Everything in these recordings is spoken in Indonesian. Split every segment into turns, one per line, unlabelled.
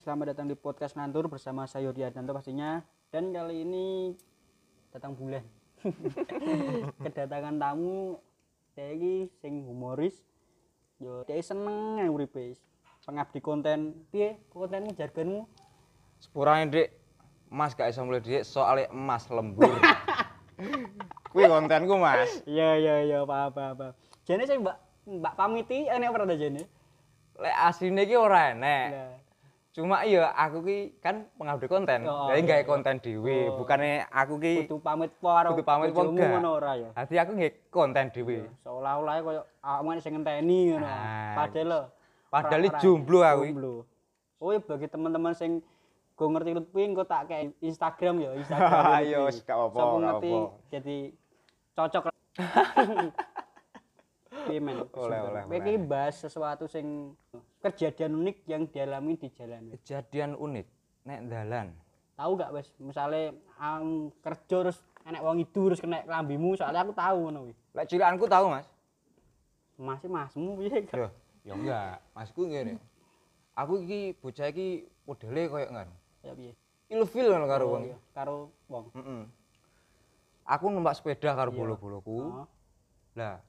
Selamat datang di podcast Nantur bersama saya Yodi Adanto pastinya dan kali ini datang bulan kedatangan tamu dia ini sing humoris yo dia seneng ya uripe pengabdi konten piye kontenmu jargonmu
Sepurane Dik. Mas gak iso mulih Dik soalnya emas lembur. Kuwi kontenku, Mas.
iya iya iya apa apa apa jane saya mbak mbak pamiti enek apa ada jane
Lek asline iki ora enek.
Lah,
Cuma iya aku ki kan pengabdi konten.
Oh,
Jadi
iya,
gawe konten dhewe, bukannya aku ki
kudu pamit po
kudu pamit apa
bojomu
enggak.
ngono ora ya
Hati aku nggih konten dhewe.
seolah-olah koyo awakmu nek sing ngenteni ngono.
Ah,
Padahal lho,
padahal
ora- ora-
jomblo aku iki.
Jomblo. Oh, iya, bagi teman-teman sing go ngerti lut kuwi engko tak kayak Instagram ya, Instagram.
Ayo, wis, gak apa-apa,
Sopo
gak
ngerti
apa-apa.
jadi cocok. Piye men?
Oleh, oleh,
Kowe iki bahas sesuatu sing kejadian unik yang dialami di jalan.
Kejadian unik nek dalan.
Tahu gak wes, misale am kerja terus enek wong itu terus kena lambimu soalnya aku tahu ngono kuwi.
Lek cilikanku tahu, Mas.
Masih masmu piye gak?
Yo, yo enggak. Masku ngene. Aku iki bocah iki modele koyo ngono.
Ya piye?
Ilfil ngono karo wong.
Oh, Iya, karo wong.
Mm-mm. Aku numpak sepeda karo bolo-boloku.
Heeh.
Lah,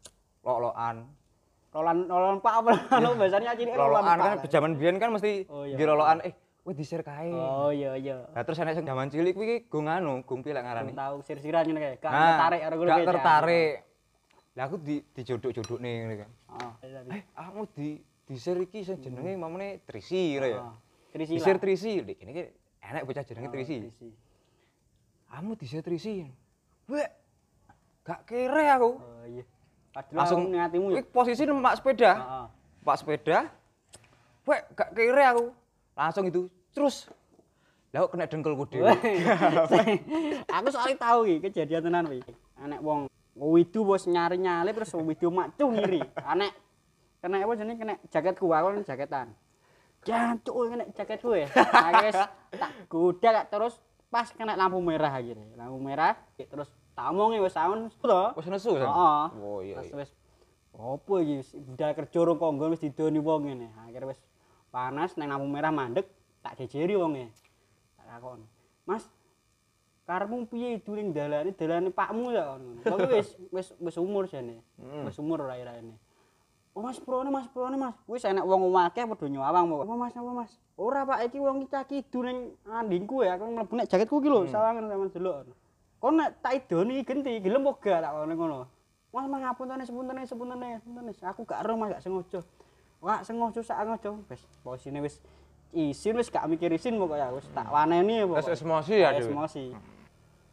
lolokan.
Rolan rolan Pak apa lo biasanya cilik rolan
Lolokan kan
Pak.
zaman biyen kan mesti
Oh, iya.
nggih lolokan eh wis diser kae.
Oh iya iya.
Lah terus enek sing zaman cilik kuwi iki go nganu, go
Belum
pilek ngarani.
tahu sir-siran ngene kae. Gak
Nah,
tertarik karo kuwi.
gak tertarik. Lah aku di dijodok-jodokne ngene kan.
Heeh.
Eh, aku di diser iki sing jenenge mamane Trisi ngono ya.
Krisi
Diser
Hmm. Oh, Ah, lah. Oh,
Trisi, Dik, ini ki enek bocah jenenge Trisi.
Krisi.
Kamu diser Trisi. Wek. Gak kere aku.
Oh iya. Padahal langsung
Langsung
ngatimu ya. Ah.
Kuwi posisi numpak sepeda.
Heeh.
pak sepeda wek gak kere aku langsung itu terus lah kok kena dengkulku dhewe
Aku soalnya tahu iki kejadian tenan wi. Anek wong widu bos nyari nyali terus widu macu ngiri. Anek kena apa jenenge kena jaketku aku kan jaketan. Jancuk kena jaketku ya. Akhirnya tak goda tak terus pas kena lampu merah akhirnya. Lampu merah ya terus tamongi wis saun to.
wis nesu San?
Heeh.
oh iya
Terus
iya.
wis opo iki wis budal kerja rong konggo wis didoni wong ngene. Akhirnya wis panas nang lampu merah mandek tak jejeri wonge. Tak takon. Mas karepmu piye duling dalane dalane pakmu ya ngono. Tapi wis wis wis umur jane.
Hmm.
Wis umur rai-raine. Oh Mas Prone, Mas Prone, Mas. Wis enek wong akeh padha nyawang kok. Apa Mas, apa Mas? Ora Pak, iki wong kita kidul ning andingku ya. Aku mlebu nek jaketku iki lho, sawangan sampean delok. Kon nek tak idoni genti, gelem apa gak tak kono ngono. Mas mangapuntane sepuntane sepuntane sepuntane. Aku gak ero Mas gak sengaja. Wah, sengaja sak sengaja. Wis posisine wis isin wis gak mikir isin pokoknya wis tak waneni pokoknya.
Wis emosi ya,
Hmm. Wis
Dewi?
emosi.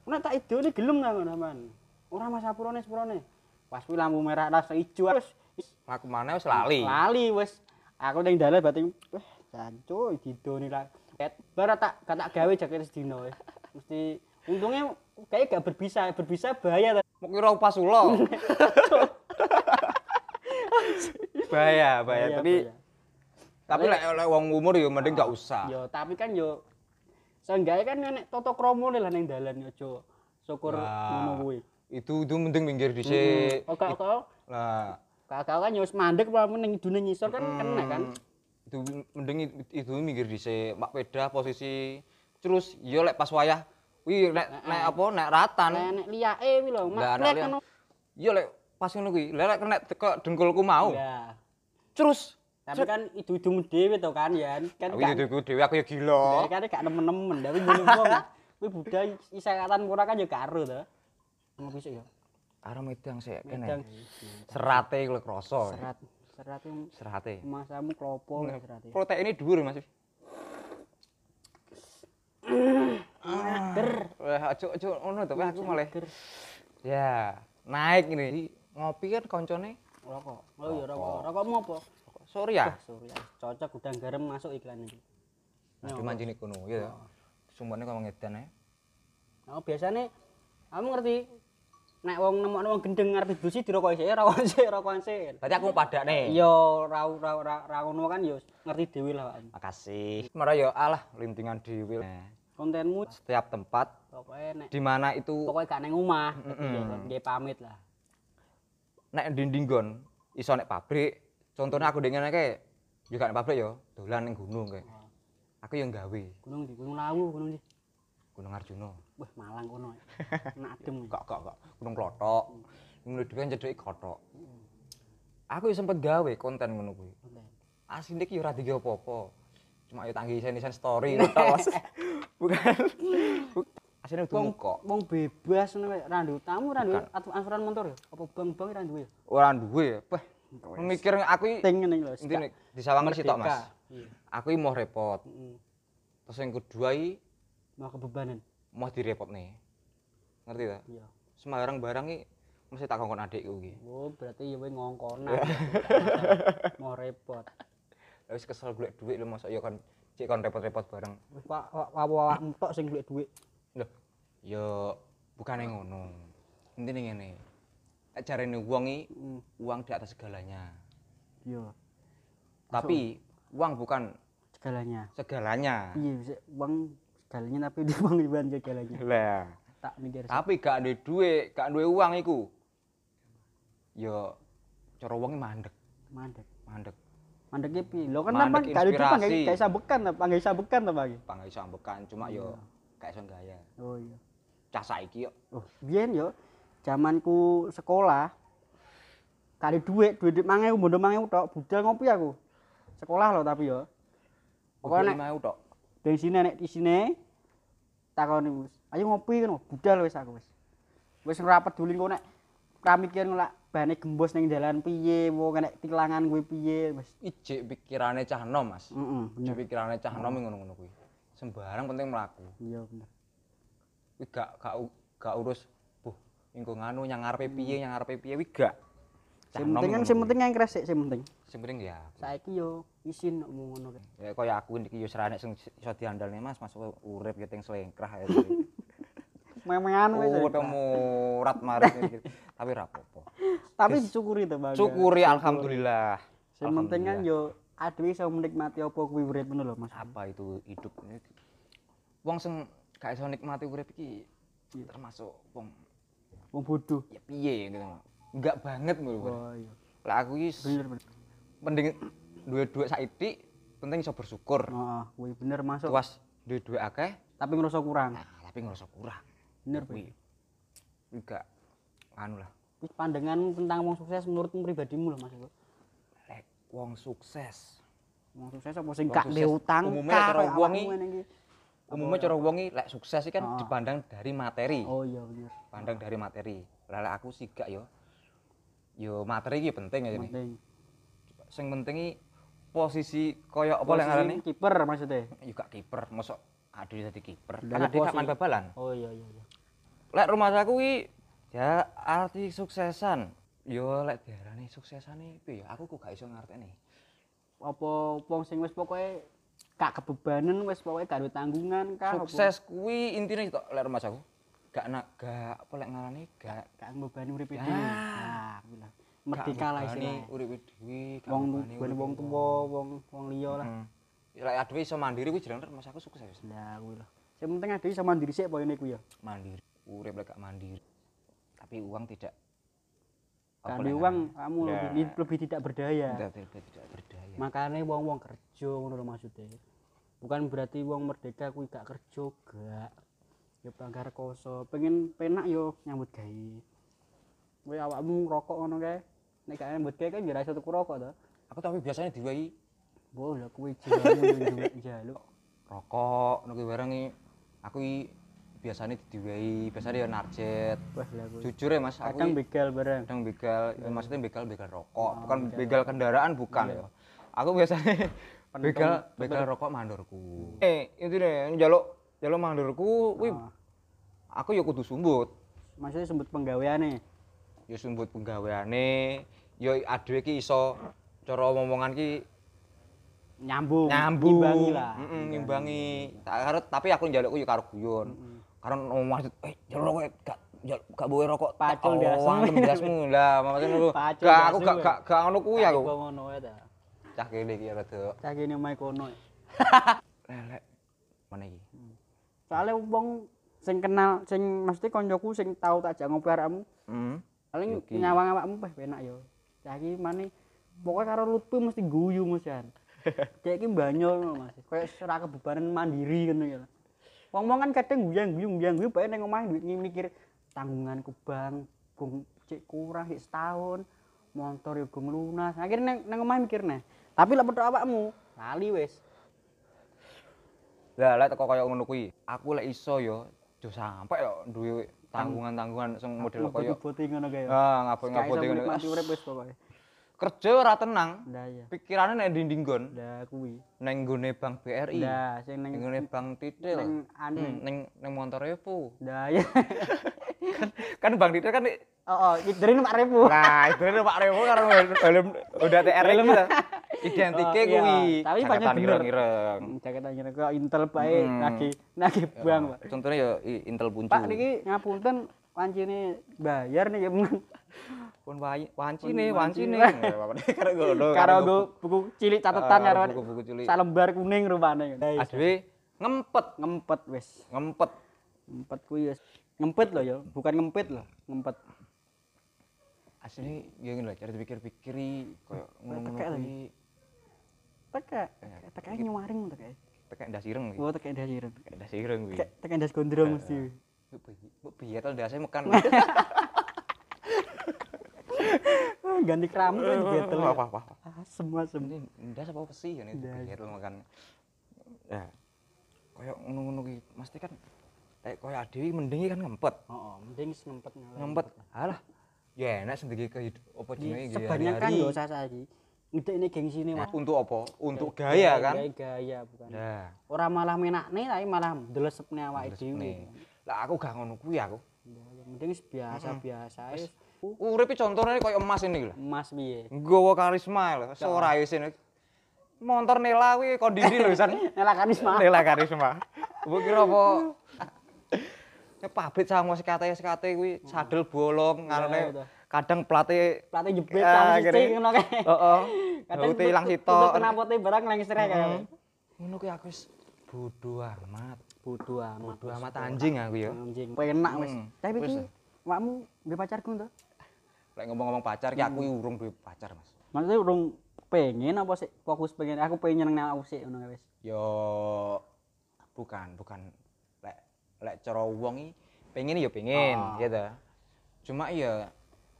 Nek tak idoni gelem ta ngono man. Ora Mas Apurone sepurone. Pas kuwi lampu merah tas ijo wis wis
aku mana wis lali
lali wis aku ning dalan berarti wah jancu didoni lah ket bara tak gak tak gawe jaket sedino wis. mesti untungnya kayak gak berbisa berbisa bahaya ta
mau kira pas ulo bahaya bahaya tapi
bahaya.
tapi lek lek wong umur ya mending gak usah
yo tapi kan yo seenggaknya kan nenek toto kromo lah ning dalan yo jo syukur ngono
Nah,
kuwi Oh,
itu itu mending minggir dhisik
Hmm, oke oke
lah
kakak kan yo wis mandek lamun ning dunia nyisor kan
Hmm.
kena kan
itu mending it- itu minggir dhisik pak peda posisi terus yo lek pas wayah wih lek lek apa nek ratan
nenek liake kuwi lho
Lah
maklek
anak
kan
lihat. Iya lek pas ngono kuwi. Lah lek kena teko dengkulku mau.
ya
Terus
tapi kan idu-idumu dhewe to kan ya kan
Aku
gak-
itu dhewe aku ya gila.
Oh. Kare gak nemen-nemen, tapi boleh wong. Kuwi budal isakatan ora kan ya karo to. Ngopi sik ya.
Karo medang sik
Medang.
kene. Serate Hmm. kuwi kroso.
Serat, serat yang
Serate.
masamu klopo ya serate.
Proteine dhuwur Mas.
Ger,
Wah, ojo ojo ngono to aku malah. Ya, naik ini. Jadi, Ngopi kan koncone
rokok. Oh iya rokok. Rokokmu apa?
sore ya.
Sorry, ya. cocok udang garam masuk iklan iki.
Nah, dimancini kono ya. Sumbane kok ngedan ae.
Nah, biasane kamu ngerti nek wong nemokno wong gendeng arep dibusi dirokok sik, rokok sik, rokok sik.
Berarti aku padakne.
Yo ra ra ra ra ngono kan yo ngerti dhewe lah awakmu.
Makasih. Merah ya alah lintingan dhewe. Nah,
Kontenmu
Setiap tempat
pokoke nek
di mana itu
pokoknya gak neng omah tapi ya nggih pamit lah
nek dinding gon iso nek pabrik contohnya aku dengan kayak juga nek pabrik yo dolan ning gunung kayak
Hmm.
aku yang gawe
Gunung di Gunung Lawu, gunung di.
gunung Arjuna
Wah, Malang kono. Enak adem.
enggak enggak enggak gunung klotok gunung dhewe cedhek kotok
Hmm.
aku yo sempet gawe konten ngono kuwi asline ki yo ora digawe apa-apa cuma yo tanggi isen-isen story ngono tau, Mas. bukan asline
Wong
dungu kok
wong bebas ngono wae, ra nduwe tamu, ra nduwe
Bukan.
atu- asuran motor ya. Apa bang-bang ra nduwe ya?
ora duwe wah mikir aku iki-
Ting ngene iki lho.
intine disawangan sih tok
merdeka.
Mas
Iya.
aku iki mau repot
Mm.
terus yang kedua iki
Mau kebebanan.
mau direpot nih ngerti tak
Iya.
sembarang barang iki mesti tak kongkon adikku iki
Oh, berarti ya wis ngongkonan. Mau repot.
Lah wis kesel golek duit lho masa ya kan cek kon repot-repot bareng
Wis awak-awak entok sing golek dhuwit.
lho ya bukannya ngono intine ngene nek jarene wong iki
Mm.
uang di atas segalanya
Iya,
tapi uang bukan
segalanya.
segalanya
Iya, bisa uang segalanya tapi di uang diban segalanya.
lah
Tak mikir sih.
tapi gak ada duit gak ada uang iku ya cara wong iki mandek
mandek.
mandek
Mandeknya piye? Lo kan
Mandek
tambah gak ada duit
inspirasi.
panggil kayak sabekan ta, panggil sabekan ta panggil.
panggil iso ambekan cuma yo gak iso gaya
Oh iya.
cah saiki yo
Oh, biyen yo zamanku sekolah kali duit, duit duit mangewu, bondo mangewu tok, budal ngopi aku. Sekolah lo tapi yo. Pokoknya
pokoknya
nek
mau tok
bensinnya nek di sini takoni wis. Ayo ngopi kan budal wis aku wis. Wis ora peduli kok nek ra mikir ngelak bane gembos ning dalan piye, mau nek tilangan kuwi piye wis.
ijek pikirane cah nom mas
Heeh, bener.
ijek pikirane cah nom yang ngono-ngono kuwi sembarang penting mlaku
Iya bener.
kuwi gak gak u- gak urus buh engko nganu yang ngarepe piye yang ngarepe piye kuwi gak
Hmm. Sing penting kan sing penting yang kresek sing penting.
sing penting ya aku.
Saiki yo isin omong ngono kae.
ya kaya aku iki yo seranek sing iso diandalne mas mas urip ya ting selengkrah ya
Memean wis.
Oh, murat marit ini. tapi ra apa-apa
Tapi disyukuri to, Bang. ya.
syukuri alhamdulillah
Sing penting kan yo adewe iso menikmati apa kuwi urip ngono lho, Mas.
apa itu hidup ini wong sing gak iso nikmati urip iki termasuk wong
Wong bodoh.
ya piye gitu enggak banget menurut gue.
Oh iya.
lah aku iki
Bener bener.
mending duwe duit saiki penting iso bersyukur
Heeh, kuwi bener masuk.
tuas duwe duit akeh
Tapi ngerasa kurang.
nah, tapi ngerasa kurang
Bener,
kuwi enggak anu lah
Wis pandanganmu tentang wong sukses menurutmu pribadimu lho, Mas. ya, Iku.
lek wong sukses
Wong sukses apa sing
Wong
gak duwe
sukses.
utang?
Umumnya
kah,
cara
kayak
wong
awakmu
i-
ngene iki.
umumnya cara wong iki lek sukses iki kan dipandang dari materi
Ah. Oh iya bener.
pandang dari materi lah lek aku sih gak yo yo materi iki penting ya ini
Penting.
sing penting iki posisi koyo apa lek
Posisi
ngarane
kiper ya, maksudnya.
yo gak kiper mosok ade dadi kiper
Dari
kan ade gak
posisi.
main bal-balan
Oh iya iya iya.
lek rumah aku iki ya arti suksesan yo lek diarani suksesan iki ya aku kok gak iso ngerteni
Apa wong sing wis pokoke gak kebebanan wis pokoke gak duwe tanggungan kah? apa?
sukses kuwi intine kok lek rumah aku gak nak gak apa lek ngarani gak
gak ngbebani urip
Ya.
dhewe. Nah, kuwi lah. merdeka lah
isine
istilahnya.
uripe dhewe gak
Wong
ngebebani
ben
urip
wong
wong.
tuwa, wong wong liya lah.
Hmm. lek adewe iso mandiri kuwi jeneng rumah aku sukses wis.
Lah kuwi lah. Sing penting adewe sama mandiri sik pokoke kuwi ya.
mandiri urip lek gak mandiri tapi uang tidak apa
Kan
lek
uang kamu
Nah.
lebih, lebih tidak berdaya.
ngarani, tidak, tidak, tidak berdaya
Makane wong-wong kerja ngono lho maksudnya. Bukan berarti wong merdeka kuwi gak kerja gak. Ya banggar koso, pengen penak yo nyambut gawe. Kowe awakmu ngrokok ngono kae. Nek gak nyambut gawe kan ya ra iso tuku rokok to.
aku tapi biasanya diwai
Bo lah kuwi jenenge njaluk.
rokok ngono kuwi barang iki aku iki biasane didiwehi biasane ya narjet
Wah lah kuwi.
jujur ya mas aku
Kadang
iki
begal bareng.
kadang begal ya, maksudnya begal begal rokok bukan Ah, begal kendaraan bukan ya aku biasanya begal begal rokok mandorku eh intine njaluk njaluk mandorku kuwi Ah. aku ya kudu sumbut
Maksudnya sembut penggaweane.
ya sumbut penggaweane ya adewe ki iso cara omongan ki
Nyambung.
nyambung
Imbangi lah.
Mm-mm, ngimbangi. Tak karo- tapi aku njaluk ku yo karo guyon karena ngomong maksud eh njaluk rokok gak njaluk gak boleh rokok
Pacul
Tak
biasa.
awang, biasmu lah maksudnya lu
Pacul
gak aku
biasa
gak
gue.
gak gak ngono kuwi aku
Kok ngono ae ta.
cah kene iki rada
Cah kene omahe kono.
lelek mana iki
Soale wong sing kenal sing mesti koncoku sing tau tak jak ngopi arakmu,
hmm
paling
Yuki.
nyawang awakmu peh penak yo ya. cah iki mane pokoke karo lutfi mesti guyu Mas Jan cek iki banyo ngono Mas koyo ora kebebanan mandiri ngono ya wong-wong kan kadang guyang-guyu guyang-guyu bae ning omah duit ngi- mikir tanggunganku bank bung cek kurang cek setahun motor yo gong lunas akhirnya nang nang omah mikir neh tapi lek petok awakmu lali wis
Lah lek teko kaya ngono kuwi, aku lek iso yo do sampe yo duwe tanggungan-tanggungan sing model kaya
boti ngono kae ya.
ah
Gak iso
ngabot-ngabot ngono.
menikmati urip wis pokoke
Kerja ora tenang,
ndak ya
pikirane nek dindinggon,
ndak kuwi
neng nggone Bank BRI,
ndak sing
neng
nang
nggone Bank
nang
Titil,
anu
hmm, neng neng motor Repo.
Nah, ya.
Kan Bank Titil kan
Oh, oh, dari Pak Repu.
Nah, itu nih Pak Revo karena film udah TR gitu. Identike
Oh, iya.
kuwi.
Tapi
Jakarta
banyak bener.
ngireng-ngireng.
Jaket anjir kok Intel bae
Hmm.
lagi nagih bang, Pak.
Contohnya ya i- Intel Punju.
Pak niki ngapunten wancine bayar nih ya men.
pun wai- wancine,
wancine.
wancine. Karo ngono.
Karo nggo buku cilik catatan
Ah,
karo
buku-buku cilik.
salembar kuning rupane.
aduwe ngempet,
ngempet wis.
ngempet.
Ngempet kuwi wis. Ngempet lho ya, bukan ngempet lho, ngempet.
Asli ya ngene lah cara dipikir-pikir koyo ngono-ngono
tekek lagi.
kuwi.
Teka, teka nyuwaring teka.
Tekek ndas ireng kuwi.
Oh, teka ndas ireng.
Tekek ndas ireng kuwi.
Teka teka ndas gondrong mesti.
Mbok piye to ndase mekan.
Ah, Ganti keramat kan betel. Ah,
Wah, wah, wah.
Asem asem.
ini ndas apa besi ya nih
Ndas.
biar lo makan ya kayak ngono-ngono ki mesti kan kayak kayak adewi mendingi kan ngempet
Oh, oh, mending ngempet ngalah.
ngempet alah ya enak sendiri ke hidup apa jenenge
Ini
gaya
sebanyak kan
hari-hari.
yo saya saiki. Ngedik ini geng sini
Nah,
Mas.
untuk apa untuk gaya kan
Gaya, gaya bukan.
nah
Ora malah menakne tapi malah delesepne awake
nih
dhewe.
lah aku gak ngono kuwi aku
Ya, yang penting wis biasa-biasa ae.
uripe contohnya kayak emas ini lho
Mas piye?
nggawa karisma lho suara wis ini motor nela kuwi kondisi lho san
Nelakanis mah.
Nela karisma. Mbok kira apa? Ya pabrik sama sekate-sekate kuwi sadel bolong
iya.
ngarene kadang plate
Plate jebet
Ah,
sama
kira-
siji ngono kae.
heeh.
Kadang
Kadang ilang
tut-
sitok.
tutup napote barang langsir ae kae.
Ngono kuwi aku wis bodoh amat.
Bodoh amat.
Bodoh amat anjing aku ya.
Anjing, penak wis.
Hmm,
Tapi
wis
iki awakmu duwe pacar ku to?
Lek ngomong-ngomong pacar ki aku
Hmm.
urung duwe pacar, Mas.
Maksudnya urung pengen apa sih fokus pengen aku pengen nang awakmu sik ngono kae wis.
Yo bukan, bukan lek lek cara wong iki pengen ya pengen
Ah.
gitu. Cuma ya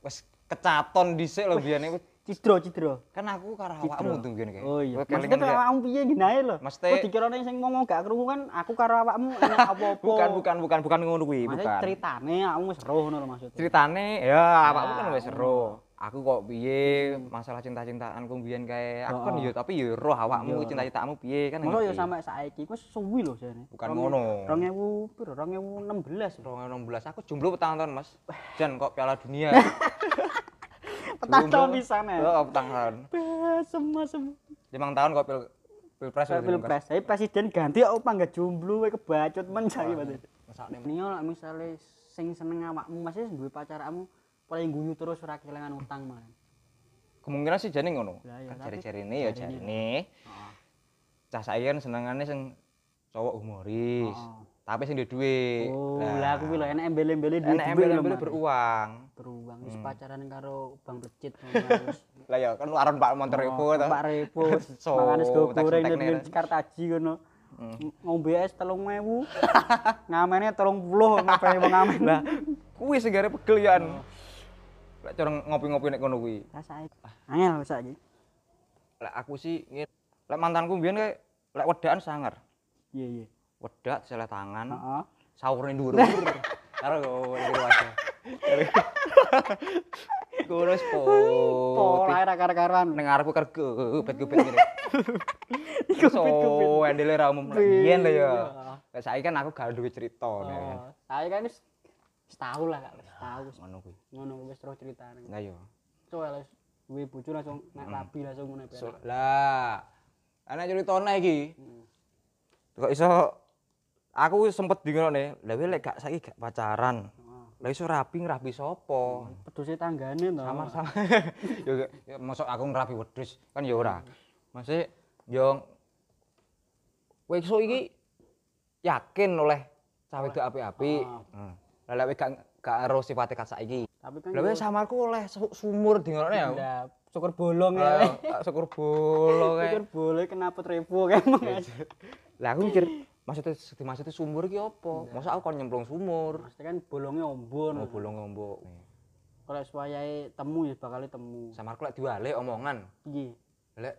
wis kecaton dhisik lho biyane wis
Cidro, cidro.
kan aku karo
Citra.
awakmu tuh ngene kae.
Oh iya.
Kowe
Maksudnya
kelingan
kalau
gak?
awakmu piye gini ae lho.
Mesti-
Kok dikirane sing ngomong gak krungu kan aku karo awakmu enak apa-apa.
Bukan bukan bukan bukan ngono kuwi,
Maksudnya
bukan.
ceritane awakmu wis roh ngono lho maksudnya.
Ceritane ya awakmu
Ah.
kan wis ero. Aku kok piye masalah cinta-cintaanku mbiyen kae. Aku kan
Oh.
yo tapi yo roh awakmu cinta-cintamu piye kan.
Masa ya
ngerti.
sampe saiki ku suwi lho jane.
Bukan
Rong-
ngono.
2000 piro? 2016.
2016 aku jomblo petang tahun, Mas. Jan kok Piala Dunia.
Petang
Jomblo.
tahun pisan ae.
Heeh, petang tahun.
Semua semua.
5 tahun kok pil pilpres.
Kayak pilpres, tapi presiden ganti aku panggil jomblo, wae kebacut men saiki Mas. Nio lah misalnya sing seneng awakmu, masih duwe pacar awakmu paling guyu terus ora kehilangan utang malah.
Kemungkinan sih jane ngono.
Lah, iya,
Kan
tapi-
jari-jarine ya
jarine.
jarine. Cah saya kan senengane sing cowok humoris.
Oh.
Tapi sing duwe duit.
Oh, lah aku lho enek embel-embele duwe
enak
duwe lho.
embel-embel
Mas.
beruang.
beruang wis
Hmm.
pacaran karo Bang Pecit terus
Lah ya kan aran Pak Monterrepo to.
Pak Repo
So,
mangan sego
tak
goreng
sentekne.
nyen Kartaji ngono
Hmm.
ngombe es 3000 ngamene 30 ngapane wong ngamen
Lah kuwi sing gare pegel ya an. Lek cara ngopi-ngopi nek ngono kuwi.
rasane angel saiki
Lek aku sih ngene. Lek mantanku mbiyen kayak lek wedakan sangar.
iya iya
Wedak sele tangan,
heeh
sahure ndur. Karo kira wae. Kuwi wis
oh
putih.
lahir akar-akaran
Ning arepku kerge, gepet-gepet ngene.
Gepet-gepet.
So, endele ra umum. Lah, Biyen lho ya. Lek saiki kan aku gak duwe cerita. nek kan.
saya Oh, kan wis setahun lah kak setahun
Ngono kuwi.
ngono wis terus ceritane
Lah yo.
cowok wis duwe bojo langsung nek rabi langsung ngono ya.
Hmm. So- Lah, ana ceritane iki. Kok iso aku sempet dingone, lha kowe lek gak saiki gak pacaran. Lah iso rabi ngrabi sapa?
pedose tanggane to
Sama-sama. Yo gak- ya, mosok aku ngrabi wedhus kan ya ora. Masih yo kowe iso iki yakin oleh cawe apik-apik. Heeh. Hmm. Lah lek kowe gak gak ero sifate kat saiki.
Tapi kan
Lha wis samarku oleh su- sumur dingokne ya.
Nah, syukur bolong ya.
Eh, tak syukur bolo kae.
Syukur kan boleh kan, kenapa trepo kayak mau
Iya,
ngasih.
Lah aku mikir maksudnya maksudnya sumur iki apa? Masa aku kon nyemplung sumur.
Pasti kan bolongnya
Mau
ombon.
bolong ngombok.
Kalau suayae temu ya bakal temu. Iya.
Samarku lek diwalek omongan.
Piye?
Lek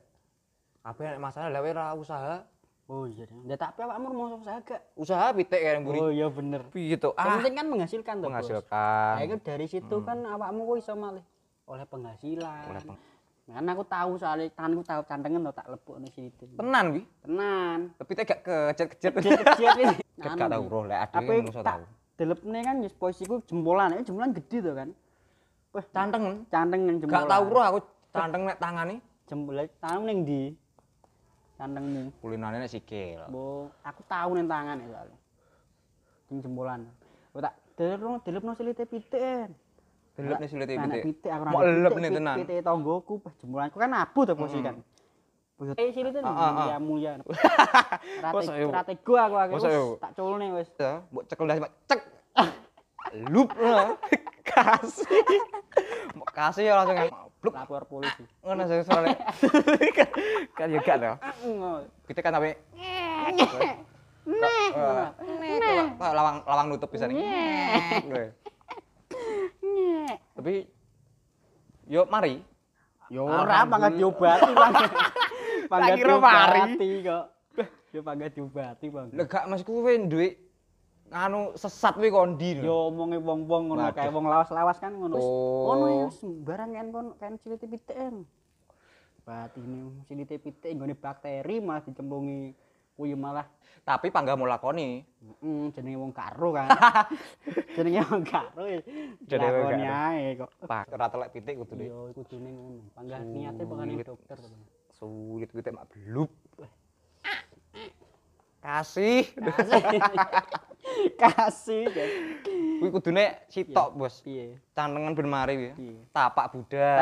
apa yang masalah lek ora usaha.
Oh iya. Ndak tak apa amur mau sama saya gak?
Usaha pitik kaya mburi.
Oh iya bener.
Piye to?
Yang
Ah,
penting kan menghasilkan tuh.
menghasilkan. Hmm.
Akhirnya dari situ kan awakmu kok iso malih oleh penghasilan.
Oleh peng-
Kan aku tahu soalnya tanganku tahu cantengan tau tak lepuk nih situ.
Tenan wi.
Tenan.
Tapi gak kejet-kejet.
Kecil-kecil ini.
Ket Kan gak tau bro, lek
Anu Tapi
adewe musuh
tak
tau.
delepne kan yes, posisiku jempolan, eh, jempolan gede tuh kan. Wah,
Canteng.
cantengan jempolan.
Gak tau bro aku canteng nek tangane
Jempolan tanganmu ning ndi? Cantengmu.
kulinane nek sikil.
Bo, aku tahu ning tangan ya soalnya. Ning jempolan. Wah, tak delep delepno silite pitik.
Delep nih sulit
Anak
pitik.
pitik aku
Mok
nang
lelep
pitik,
nih tenan.
Pitik tonggoku pas jempolanku kan abu to posisi kan. Buyut. Eh sini
Ah,
tuh ya mulia. Rate
Masa iya, Bu?
rate gua aku aku
Masa iya, Bu?
wis tak culne wis.
Ya, mbok cekel dah Pak. cek. Lup. nah. Kasih. Mbok kasih ya langsung bluk
Lapor polisi.
ngono saya soalnya. Kan ya gak tau. Kita kan tapi Eh, kayak lawang lawang nutup bisa nih. Tapi yo mari.
Yo ora pangkat diobati pangkat. Pangkat
kira mari.
diobati kok. Yo pangkat diobati bang.
Lega mas kuwe duwe nganu sesat kuwi kondi lho.
Yo omonge wong-wong ngono
Waduh.
kae wong lawas-lawas kan ngono. Wis,
Oh.
Ngono ya sembarang kan kon kan cilite pitiken. Batine cilite pitik nggone bakteri malah dicemplungi kuwi malah
Tapi panggamu lakoni.
mm, jenenge wong karo kan. jenenge wong karo. ya.
Jenenge wong
Dilakoni
karo.
ae kok.
Pak, ora telek pitik kudune.
Yo kudune ngono. Panggah
Hmm.
niate bakane
Sulit.
dokter. to.
sulit kita mak belup kasih
Kasih. Kasih. kan.
kuwi kudune sitok bos
Piye?
cantengan ben mari ya
Iya.
tapak buddha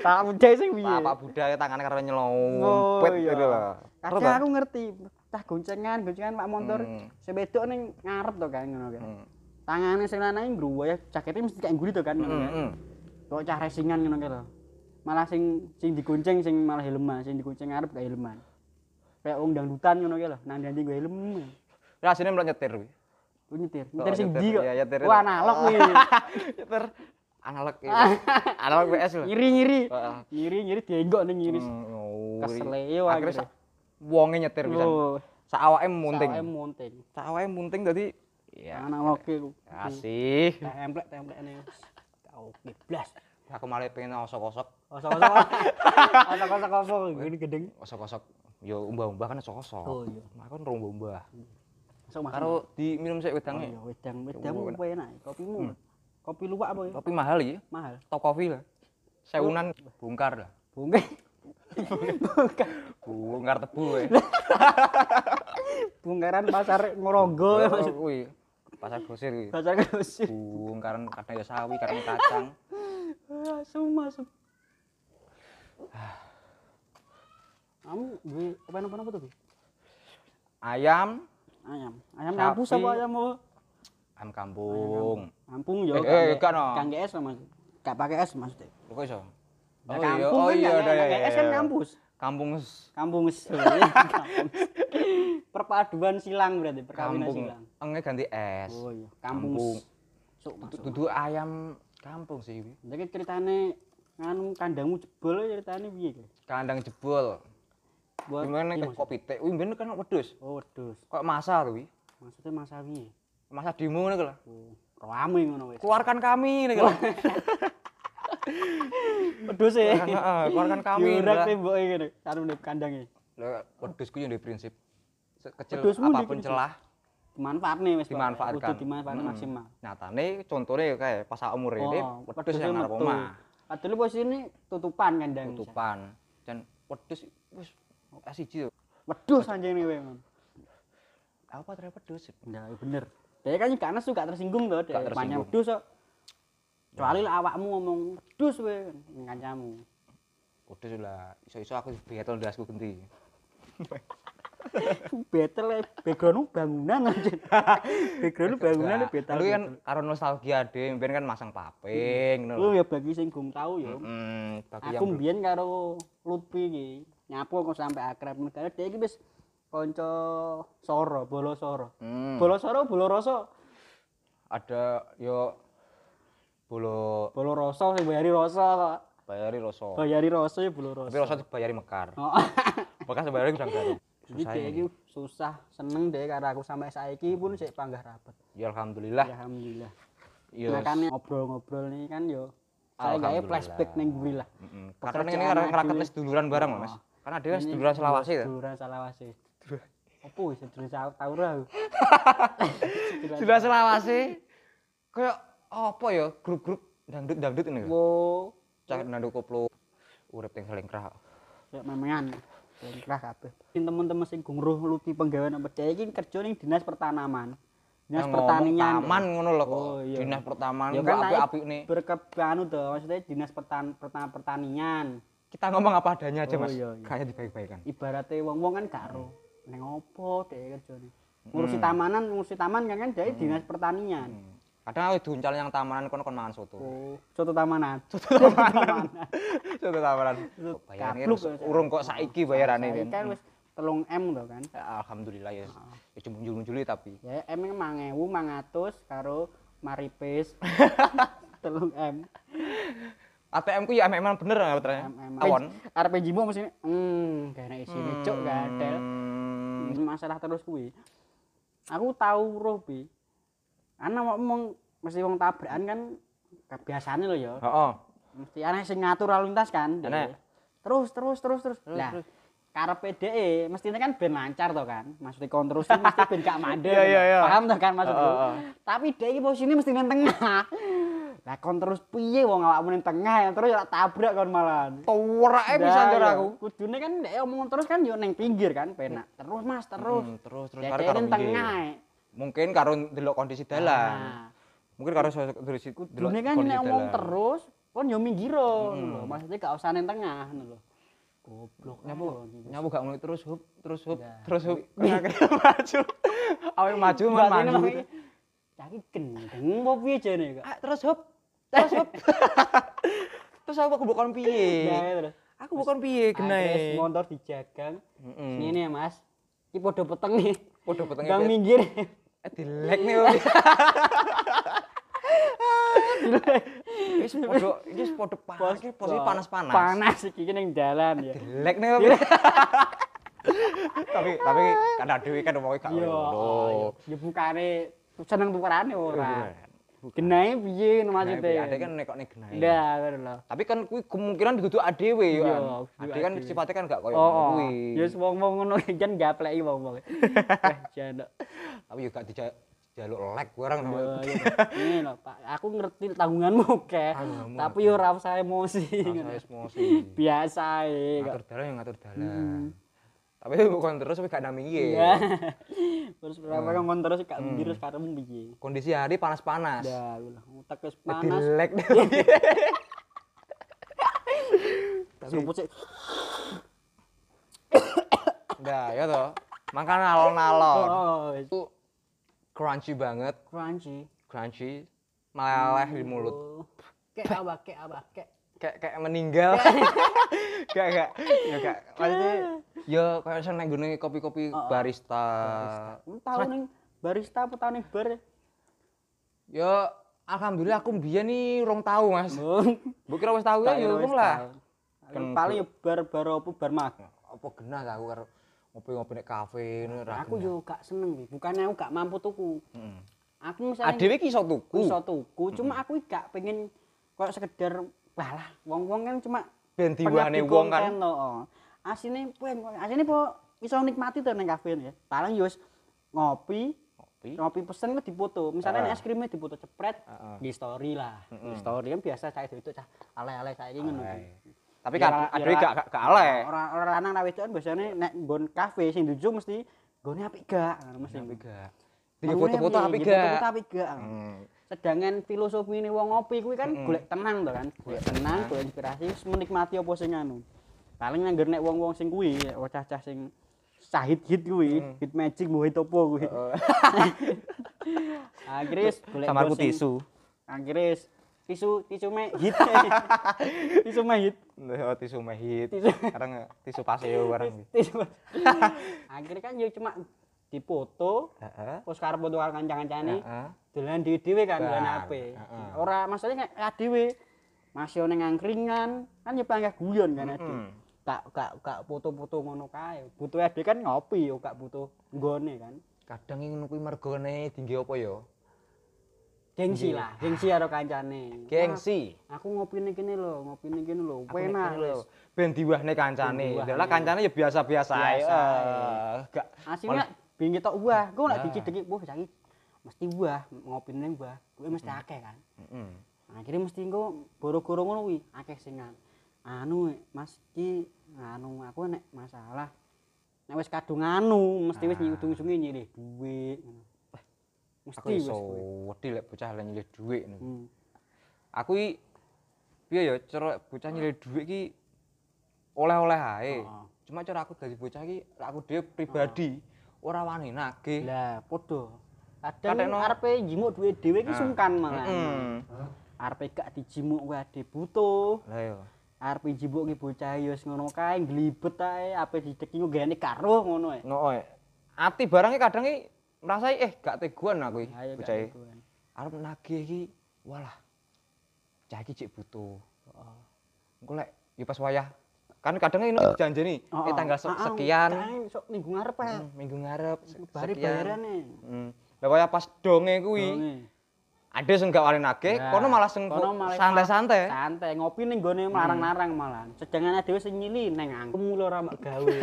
Tak udah sing piye?
tapak buddha tangannya karena
Iya. Oh,
nyelompet
iya.
gitu loh Terus,
Kadang aku ngerti, cah goncengan, goncengan Pak Montor,
Hmm.
sebedok ning ngarep to kan ngono kan.
Hmm.
Tangane sing lanang ngruwaya jakete mesti kayak ngguri to kan ngono
mm,
kan.
mm.
Kok cah racingan ngono kan to. Malah sing sing digonceng sing malah helman, sing digonceng ngarep kayak helman. Kayak wong dangdutan ngono kan lho, nang dandi gue helm. eh.
Lah sini melu nyetir kuwi.
Lu nyetir, nyetir sing
nyetir,
ndi kok.
iya, nyetir.
Wah, analog kuwi.
nyetir analog ya. analog PS lho
Ngiri-ngiri.
Heeh.
Ngiri-ngiri dienggok ning ngiri.
Mm, ngawur.
Kesele yo
akhirnya
akhirnya.
sa- wonge nyetir bisa
Loh,
sak awake munting
sawake Oh, munting.
sak awake munting dadi ya
Analog kuwi.
kasih
template template nih kau blas
aku malah pengen osok-osok
osok osok osok osok apa gini gedeng
osok-osok yo umbah-umbah kan osok-osok
Oh, iya.
Nah, aku kan umbah-umbah
osok mas
karo diminum
oh
sik wedange
iya wedang wedangmu apa enak kopimu kopi luwak apa ya
tapi mahal iki
mahal
top kopi lah sewunan bongkar lah
bunga
bongkar tebu ya
bungaran pasar ngorogo ya, Mas.
Oh, kuwi pasar grosir kuwi
pasar kusir
bongkaran kadang ya sawi kadang kacang
Ah, semua semua kamu gue apa apa apa tuh Bi?
ayam
ayam ayam
Sapi.
kampus apa ayam apa
ayam kampung
kampung yo
Eh, eh, gak, no.
kang es mas gak pakai es maksudnya
lho kok iso Oh,
Nah,
iya.
kampung kan nggak- nggak kayak es kan kampus.
kampung s-
Kampung sebenarnya kampung. Perpaduan silang berarti perkawinan
kampung
silang.
enge ganti es
Oh iya, kampung.
Kampung.
Sok masuk.
dudu ayam kampung sih kuwi.
Jadi ceritane nganu kandangmu jebol ceritane piye iki?
kandang jebol
Buat
gimana
iya,
nek kok pitik kuwi ben kan wedhus
Mas. Oh, wedhus.
kok masa tuh
Maksudnya Mas Awi. e?
masa demo nih kalau
Oh, rame ngono wis.
keluarkan kami nih kalau
Wedhus e.
keluarkan kami
Diurak nih mboke ngene, karo e. ndek kandange.
wedusku yang dari prinsip sekecil
Wedhusmu di
apapun
prinsip.
celah
Dimanfaatne wis. Pak.
dimanfaatkan Hmm.
Kudu dimanfaatkan
Mm-mm.
maksimal.
nyatane contohnya ya kayak pas aku umur ini
Oh,
wedus yang ngarep
metu.
omah
Padahal posisine tutupan kandang.
tutupan dan wedus wis siji tuh.
Wedhus anjene wae ngono.
apa ternyata wedus
Nah, bener. Dia kan gak nesu, gak tersinggung loh. Dia
Gak
banyak
tersinggung.
wedus kok. Kecuali lah awakmu ngomong wedus we kancamu.
wedus lah iso-iso aku betul dasku ganti
Betel eh, backgroundmu bangunan aja. backgroundmu bangunan eh, betel.
Lu kan karo nostalgia deh, mbiyen kan masang paping ngono.
lu ya bagi sing gum tau ya.
Hmm, bagi yang
Aku mbiyen karo Lutfi iki nyapu aku sampe akrab negara dhek iki wis kanca Soro, Bolo Soro.
Hmm,
Bolo Soro, Bolo Roso,
ada yo bolo
Bolo Roso sing bayari Roso kok.
bayari roso.
Bayari Roso ya Bolo
Oh. Tapi
Roso.
roso dibayari mekar.
Oh. gitu.
Bekas bayari udah garuk.
Jadi
Susah
dhek
ini.
iki susah seneng dhek karo aku sampe saiki pun sik panggah rapet.
Ya alhamdulillah. Ya,
Alhamdulillah. Ya.
Yo.
Makanya ngobrol-ngobrol ini kan yo saya gawe flashback ning guri lah.
Heeh. Karena ini
Pekerjaan
ngeraket
aku-
wis duluran bareng Mas. Karena dia wis
Ini
duluran Selawasi ta.
Duluran Selawasi. Apa wis duluran Sel- tau ora aku. Duluran
Duluran Selawasi. Kayak apa ya grup-grup dangdut-dangdut ini.
Wo,
Cak nanduk koplo. Urip sing selengkrah.
ya memengan. Lengkrah kabeh. Sing teman-teman sing gungruh lupi penggawean apa dhek iki kerja ning Dinas Pertanaman. Dinas
Yang ngomong
Pertanian.
taman ngono lho kok.
Oh, iya.
Dinas pertamanan
Ya
ya,
kan naik
api nih.
berkebanu tuh, maksudnya Dinas Pertan Pertan- Pertanian.
Kita ngomong apa adanya aja
Oh,
Mas.
iya, iya.
Kayaknya dibaik-baikan.
Ibaratnya wong-wong kan gak ero. Ning opo dhek kerjane. Ngurusi
Hmm.
tamanan, ngurusi taman kan kan dhek Dinas Pertanian.
Kadang aku duncal yang tamanan kono kon mangan soto.
Oh, soto tamanan.
Soto tamanan. Oh, Bayarane
Kapluk,
wis
Mas.
urung kok saiki bayarane
Saiki
kan.
kan wis Ah. 3M to kan.
Ya, Alhamdulillah ya. Ya cuma juli tapi.
Ya M ini 1000 900 karo Maripis. 3M.
ATM ku ya emang bener nggak putranya?
MM.
Awon.
RPG mu mesti hmm, gak enak isine cuk gak ada.
Hmm,
Masalah terus kuwi. Aku tahu roh bi. Ana mau mong mesti wong tabrakan kan kebiasaane lho ya.
Oh,
Mesti ana sing ngatur lalu lintas kan.
Ana.
Terus terus terus terus.
Terus,
Lah
terus.
karepe dhek mestinya kan ben lancar to kan. Maksudnya kontrol sih mesti ben gak mandek.
Iya, iya, iya.
Paham to kan maksudku?
Oh, oh, oh.
Tapi dhek iki posisine mesti ning tengah. Lah kontrol piye wong awakmu ning tengah ya terus ya tabrak kon malahan.
tuwrake Eh, bisa
Nah,
jar
ya.
aku.
Kudune kan nek omong terus kan yo ning pinggir kan penak. Terus Mas, terus.
Hmm, terus terus
Ya,
karo
dia
karo
ning
pinggir.
tengah. eh.
Mungkin karo delok kondisi dalan.
Nah,
Mungkin karo so- delok si- delok
Kudune kan
kondisi
nek omong
dalan.
terus kon yo minggir
Hmm.
lho. Maksudnya gak usah ning tengah ngono lho. Goblok nyapa
Nyamuk gak mulai terus hub, terus hub,
Nah.
terus hub. Akhirnya maju. Awal maju man maju.
Caki gendeng opo piye jane kok.
Ah, terus hub. Terus hub. terus aku bukan
Nah,
piye.
terus.
Aku bukan piye
Terus
genai.
motor dijagang.
Heeh.
Ngene ya, Mas. Iki podo peteng nih.
Waduh petenge.
Gang minggir.
Eh dilek nih. Om. Wis podo, iki wis podo panas, iki posisi panas-panas.
Panas iki iki ning dalan ya.
Dilek nih. Om. tapi tapi karena Dewi kan mau gak
Yo,
ngono. Iya.
ya bukane seneng tukarane ora.
Bukan.
Genahe piye ngono
Nah,
maksude.
Ade kan nekok nek genai.
Ndak, ngono lho.
Tapi kan kuwi kemungkinan ditutup adewe yo.
Iya, kudu
kan. Ade kan
adewe.
sifatnya kan gak koyo ngono
Oh, oh.
kuwi.
ya wis wong-wong ngono jan gapleki wong-wong. Wah, jan. eh,
Tapi yo gak dija- dijaluk lek barang
Iya,
sama.
Ini lho, Pak. Aku ngerti tanggunganmu kek.
Tanggunganmu
Tapi yo ora usah emosi.
Rasa
Iya,
emosi.
Biasa ae kok.
Ngatur dalan yang ngatur dalan. Tapi ya bukan terus tapi gak nami piye.
Ya. Terus berapa
Hmm.
kan kon terus gak mirip karemu piye.
Kondisi hari panas-panas.
Ndak, lho. Utek wis panas. Iya.
panas. Dilek.
Seruput sik.
Nah, ya toh. Makan alon-alon.
Oh, wis.
Itu crunchy banget,
crunchy.
crunchy. Meleleh di mulut.
Oh. Kek apa kek apa kek.
Kayak kayak meninggal. Gak gak. Ya gak. Maksudnya ya kayak seneng gune
Oh,
kopi-kopi barista.
Lu tahu ning barista apa tahu ning bar?
Ya alhamdulillah aku mbiyen nih rong tahu, Mas.
Hmm.
Mbok kira wis tahu ya ya wong lah.
Kan paling ya bar bar apa bar mag.
Apa genah aku karo ngopi-ngopi nek kafe ngono ra.
Aku yo gak seneng, Wi. bukannya aku gak mampu tuku.
Heeh.
Aku misalnya
Adewe ki iso tuku.
iso tuku, cuma aku gak pengen koyo sekedar balah wong-wong kan cuma
Ben diwane wong kan.
konten to, oh. Asine pen, asine po iso nikmati to ning kafe ya. Paling yo wis ngopi,
Kopi.
ngopi pesen kok dipoto misalnya
Heeh.
es krimnya dipoto cepret
Heeh.
di story lah di story kan biasa saya itu cah alay alay saya ingin
Alay. Tapi kan adewe gak gak gak aleh.
orang orang lanang rawe itu biasanya nek nggon kafe sing duju mesti nggonnya apik gak ngono mesti
Tapi gak. Tiga foto-foto
Nggonnya
tapi
piye,
gak.
foto-foto apik gak
Hmm.
sedangkan filosofi ini wong ngopi kuwi kan golek tenang to kan golek tenang golek inspirasi terus menikmati apa sing anu paling nang nek wong-wong sing kuwi cah-cah sing cah hit-hit kuwi,
Mm.
hit magic mbuh hit apa kuwi.
Oh.
Akhirnya wis golek
Samarku
browsing.
tisu.
Akhirnya wis tisu tisu me hit. tisu me hit.
Nah, oh, tisu mehit.
Tisu.
Sekarang tisu paseo barang.
Tisu. me- Akhirnya kan yo cuma dipoto,
Heeh.
terus karep foto karo kanca-kancane.
Heeh.
dolan dhewe dhewe kan dolan
Bar,
HP.
heeh.
Ora maksudnya nek ya dhewe. Masih ono angkringan, kan ya panggah guyon kan ade.
Mm-mm.
Gak gak gak foto-foto ngono kae. Butuh ade kan ngopi yo gak butuh nggone kan.
Kadang yang nunggu mergone tinggi apa yo?
Gengsi lah, gengsi karo kancane.
Gengsi.
Wah, Aku ngopi ning kene lho, ngopi ning kene lho. Penak lho.
lho. Ben diwahne kancane.
Ben diwahne.
Lah kancane ya biasa-biasa ae.
Biasa ae.
Eh, Gak
Asine bingi tok wah, Gue
Nah.
nek dikideki wah saiki mesti wah, ngopi ning wah. Kuwi mesti akeh kan.
Heeh.
akhirnya mesti engko boro-boro ngono kuwi akeh sing ngan- anu Mas iki anu aku nek masalah nek wis kadung anu mesti wis nyudung-sungi nyilih duit ngono. mesti
Ah. Aku
wis
iso
kuwi.
wedi lek bocah lek nyilih dhuwit niku.
Hmm.
Aku i piye ya cara bocah nyilih dhuwit ki oleh-oleh ae.
Heeh.
Cuma cara aku dadi bocah ki lek aku dhewe pribadi ora wani nagih.
lah padha kadang
Kadang no-
arepe jimuk duit dhewe ki sungkan malah
Ah. Mm-mm.
arepe gak dijimuk kuwi ade butuh
Lah yo.
arepe jimuk ki bocah ya wis ngono kae glibet ae ape dideki nggene karo ngono ae
No, eh. ati barangnya kadang i merasa eh gak teguan aku iki
Ayo, gak
bocah. e.
gitu kan.
Arep nagih iki walah. Cah iki cek butuh.
Heeh.
Engko lek ya pas wayah. Kan kadang ini janjeni eh
Heeh.
tanggal se-
Heeh,
sekian
Ah, kae sok minggu ngarep ae
hmm, minggu ngarep se-
Bari
sekian.
bayarane.
Hmm. Lah wayah pas donge kuwi ada sing gak wani nagih, Eh, kono malah sing
Nah, Kono malah-
santai-santai. ya? Hmm.
Santai ngopi ning gone larang-larang malah. Sedangane dhewe sing nyili ning angkem mulu ora mbak gawe.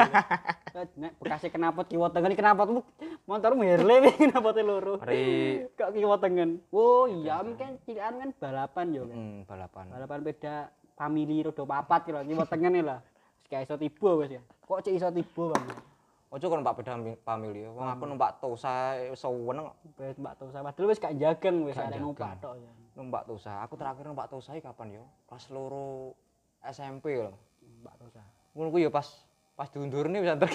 Nek bekase kenapot kiwa tengen kenapot motormu Harley iki kenapote loro.
Mari
Kok kiwa tengen. Oh iya mungkin cilikan kan balapan yo. kan.
hmm, balapan.
Balapan beda famili roda papat kira kiwa tengen e lah. Wis gak iso tiba wis ya. Kok cek iso tiba Bang?
Ojo kon numpak beda family. Wong
Hmm.
aku numpak tosa eh, seweneng
Wis mbak tau sama dulu wis gak jagen wis
Gak
arek
jagen.
numpak tok ya.
numpak tosa. Aku terakhir numpak tosa iki kapan yo? Kelas loro SMP lho.
Mbak tau sama.
Ngono kuwi yo pas pas diundurne wis antuk.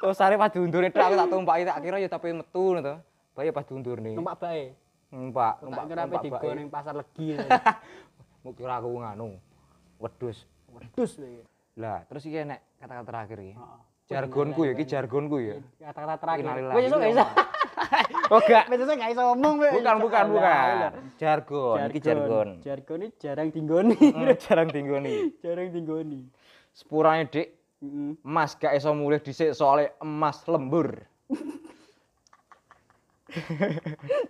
Tosare pas diundurne tok aku tak tumpaki tak kira yo tapi metu ngono to. Bae pas diundurne.
Numpak bae. Numpak
Numpak, numpak
kira apa
numpak
digo
bae.
ning pasar legi.
Mau kira aku nganu. Wedhus.
Wedus wae.
Lah, terus iki enek kata-kata terakhir iki.
Heeh.
Oh, Jargonku ya, iki jargonku ya.
Kata-kata terakhir.
Innalillahi
Wis iso gak iso.
Oh gak.
Wis iso gak iso ngomong wae.
Bukan, bukan, bukan. Jargon, iki jargon.
Jargon iki jarang dinggoni.
Hmm, Jarang tinggal nih.
jarang dinggoni.
Sepurane Dik,
Heeh.
emas gak iso mulih dhisik soalnya emas lembur.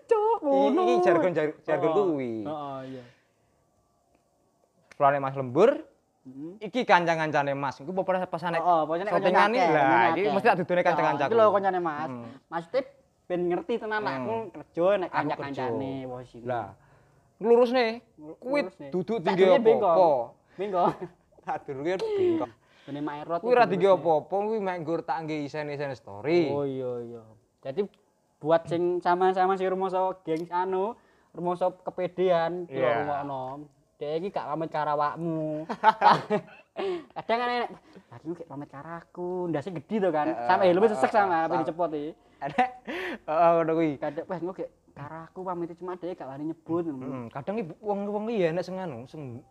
Cuk, ngono.
Iki jargon jar- jargon
Heeh.
Oh. kuwi.
Heeh, Oh, iya.
Sepurane emas lembur,
Heeh.
iki kancang-kancane Mas. Iku apa pesane?
Heeh, Oh, pokoknya
settingan iki lah, iki mesti tak dudune kancang-kancaku.
Iki lho koncane Mas. Maksudnya ben ngerti tenan lah, aku kerja nek
Mm. Aku
kanca-kancane
kerja.
wis ini.
Lah, lurus nih. Kuwi
Lurus nih.
duduk
Tak
tinggi
durunge
apa-apa.
bengkong. Bengkong.
Tak durunge bengkok.
Bene mak erot.
Kuwi
iki
ra tinggi
lurusnya.
apa-apa, kuwi mek nggur tak nggih isen-isen story.
Oh iya iya. Jadi buat sing sama-sama si rumoso geng anu, rumoso kepedean kulo
Iya.
rumono. Dek iki gak pamit karo awakmu. Kadang kan enek, tadi ku gak pamit karo aku, ndase gede to kan.
Heeh,
Sampai helm sesek
heeh,
sama
sam-
apa dicepot iki.
Ada heeh ngono kuwi.
Kadang wes engko gak karo aku pamit cuma dek gak wani nyebut.
Mm, kadang ibu wong wong iya nek sing anu sing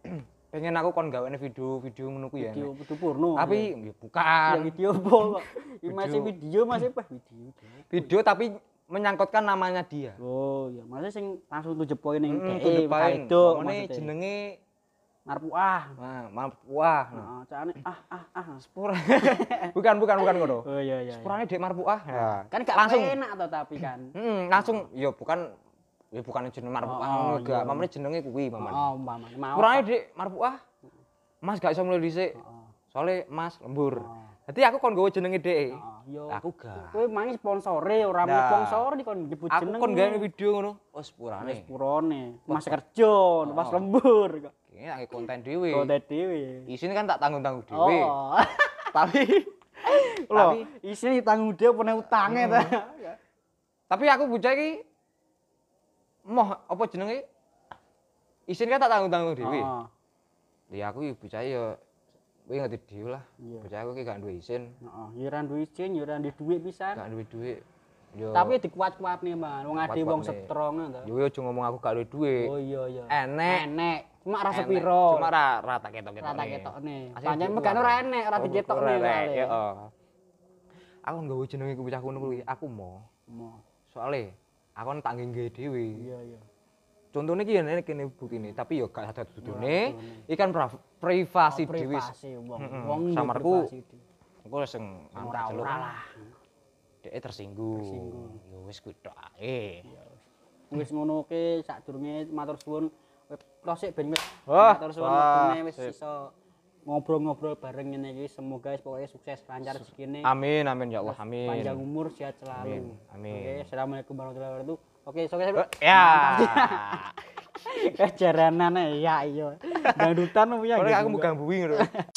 pengen aku kon gawe video-video ngono kuwi ya.
Video
enek.
putu purno.
Tapi
Ya.
ya
ya
bukan
video po kok. Iki masih
Video.
video masih pas video. Dek.
video tapi menyangkutkan namanya dia.
Oh, ya maksudnya sing langsung tujuh poin ning
Mm,
dek.
to the point.
Kaedok
Pokoknya
maksudnya.
jenenge
Marpu ah.
nah, maaf, wah. nah.
Heeh, carane ah ah ah.
Pura. bukan bukan bukan ngono.
Oh iya iya.
Sepurane Dek Marpuah. Nah,
Kan gak
langsung.
enak to tapi kan.
Mm, langsung ya bukan ya bukan jeneng Marpuah
Oh,
ngono
iya.
gak. Mamane jenenge kuwi mamane.
Oh, umpama mau.
Sepurane Dek Marpuah. ah. Mas gak iso mulai dhisik.
Heeh.
Soale Mas lembur.
Oh.
Dadi aku kon gawe jenenge Dek.
Heeh, yo.
Aku gak.
Kowe mangi sponsore ora mau
Nah.
sponsor di kon nyebut
Aku
jeneng.
kon gawe video ngono. Oh sepurane.
purone. Mas kerja,
Oh.
pas lembur kok.
Ini nang konten dhewe.
Kok dhewe.
Isine kan tak tanggung-tanggung dhewe.
Oh.
Tapi
Lho,
tapi
isine ditanggung dia pene utange ta.
tapi aku bocah iki moh apa jenenge? Isin kan tak tanggung-tanggung dhewe.
Heeh.
Ya aku ibu cah ya Kuwi ngerti dhewe lah.
Iya.
Bocah aku ki gak duwe isin,
Heeh, yo ora duwe izin, yo ora duwe duit pisan.
gak duwe dhuwit. Yo
Tapi dikuat-kuatne, Man. Wong ade wong
Kuat-kuatne.
strong to.
yo yo aja ngomong aku gak duwe dhuwit.
Oh iya iya.
Enek.
Enek. Cuma rasa
Enek.
piro.
Cuma ra rata ketok-ketok.
Rata ketokne.
Asli
Pancen
gitu,
megan
Mas.
ora enek, ora diketokne soalnya.
Yo. eh, Aku nggawe jenenge ku bocahku ngono kuwi, aku mau.
Mo.
Soale aku kan tak nggih dhewe.
Iya iya.
Contohnya ki nek kene bukine, tapi yo gak ada dudune.
dudune.
Ikan privasi
Oh,
dhewe.
privasi wong.
Mm-mm.
Wong duwe
Samarku
privasi dhewe.
Engko sing anu
ora
celuk.
ora lah.
Dhek tersinggung.
Tersinggung.
Ya wis kuwi tok ae.
Wis ngono ke sadurunge matur suwun. Wis prosik ben wis
Wah,
matur suwun
wah,
maturne wis
sip.
iso ngobrol-ngobrol bareng ngene iki. Semoga wis pokoknya sukses lancar rezekine.
Amin amin ya Allah amin.
Panjang umur sehat selalu.
Amin, amin.
Oke, assalamualaikum warahmatullahi wabarakatuh. Oke, sukses. Bro.
Eh, Ya.
Eh, jaranan ya iya. Dangdutan punya
Kalau aku
gitu.
mau gangguin lho.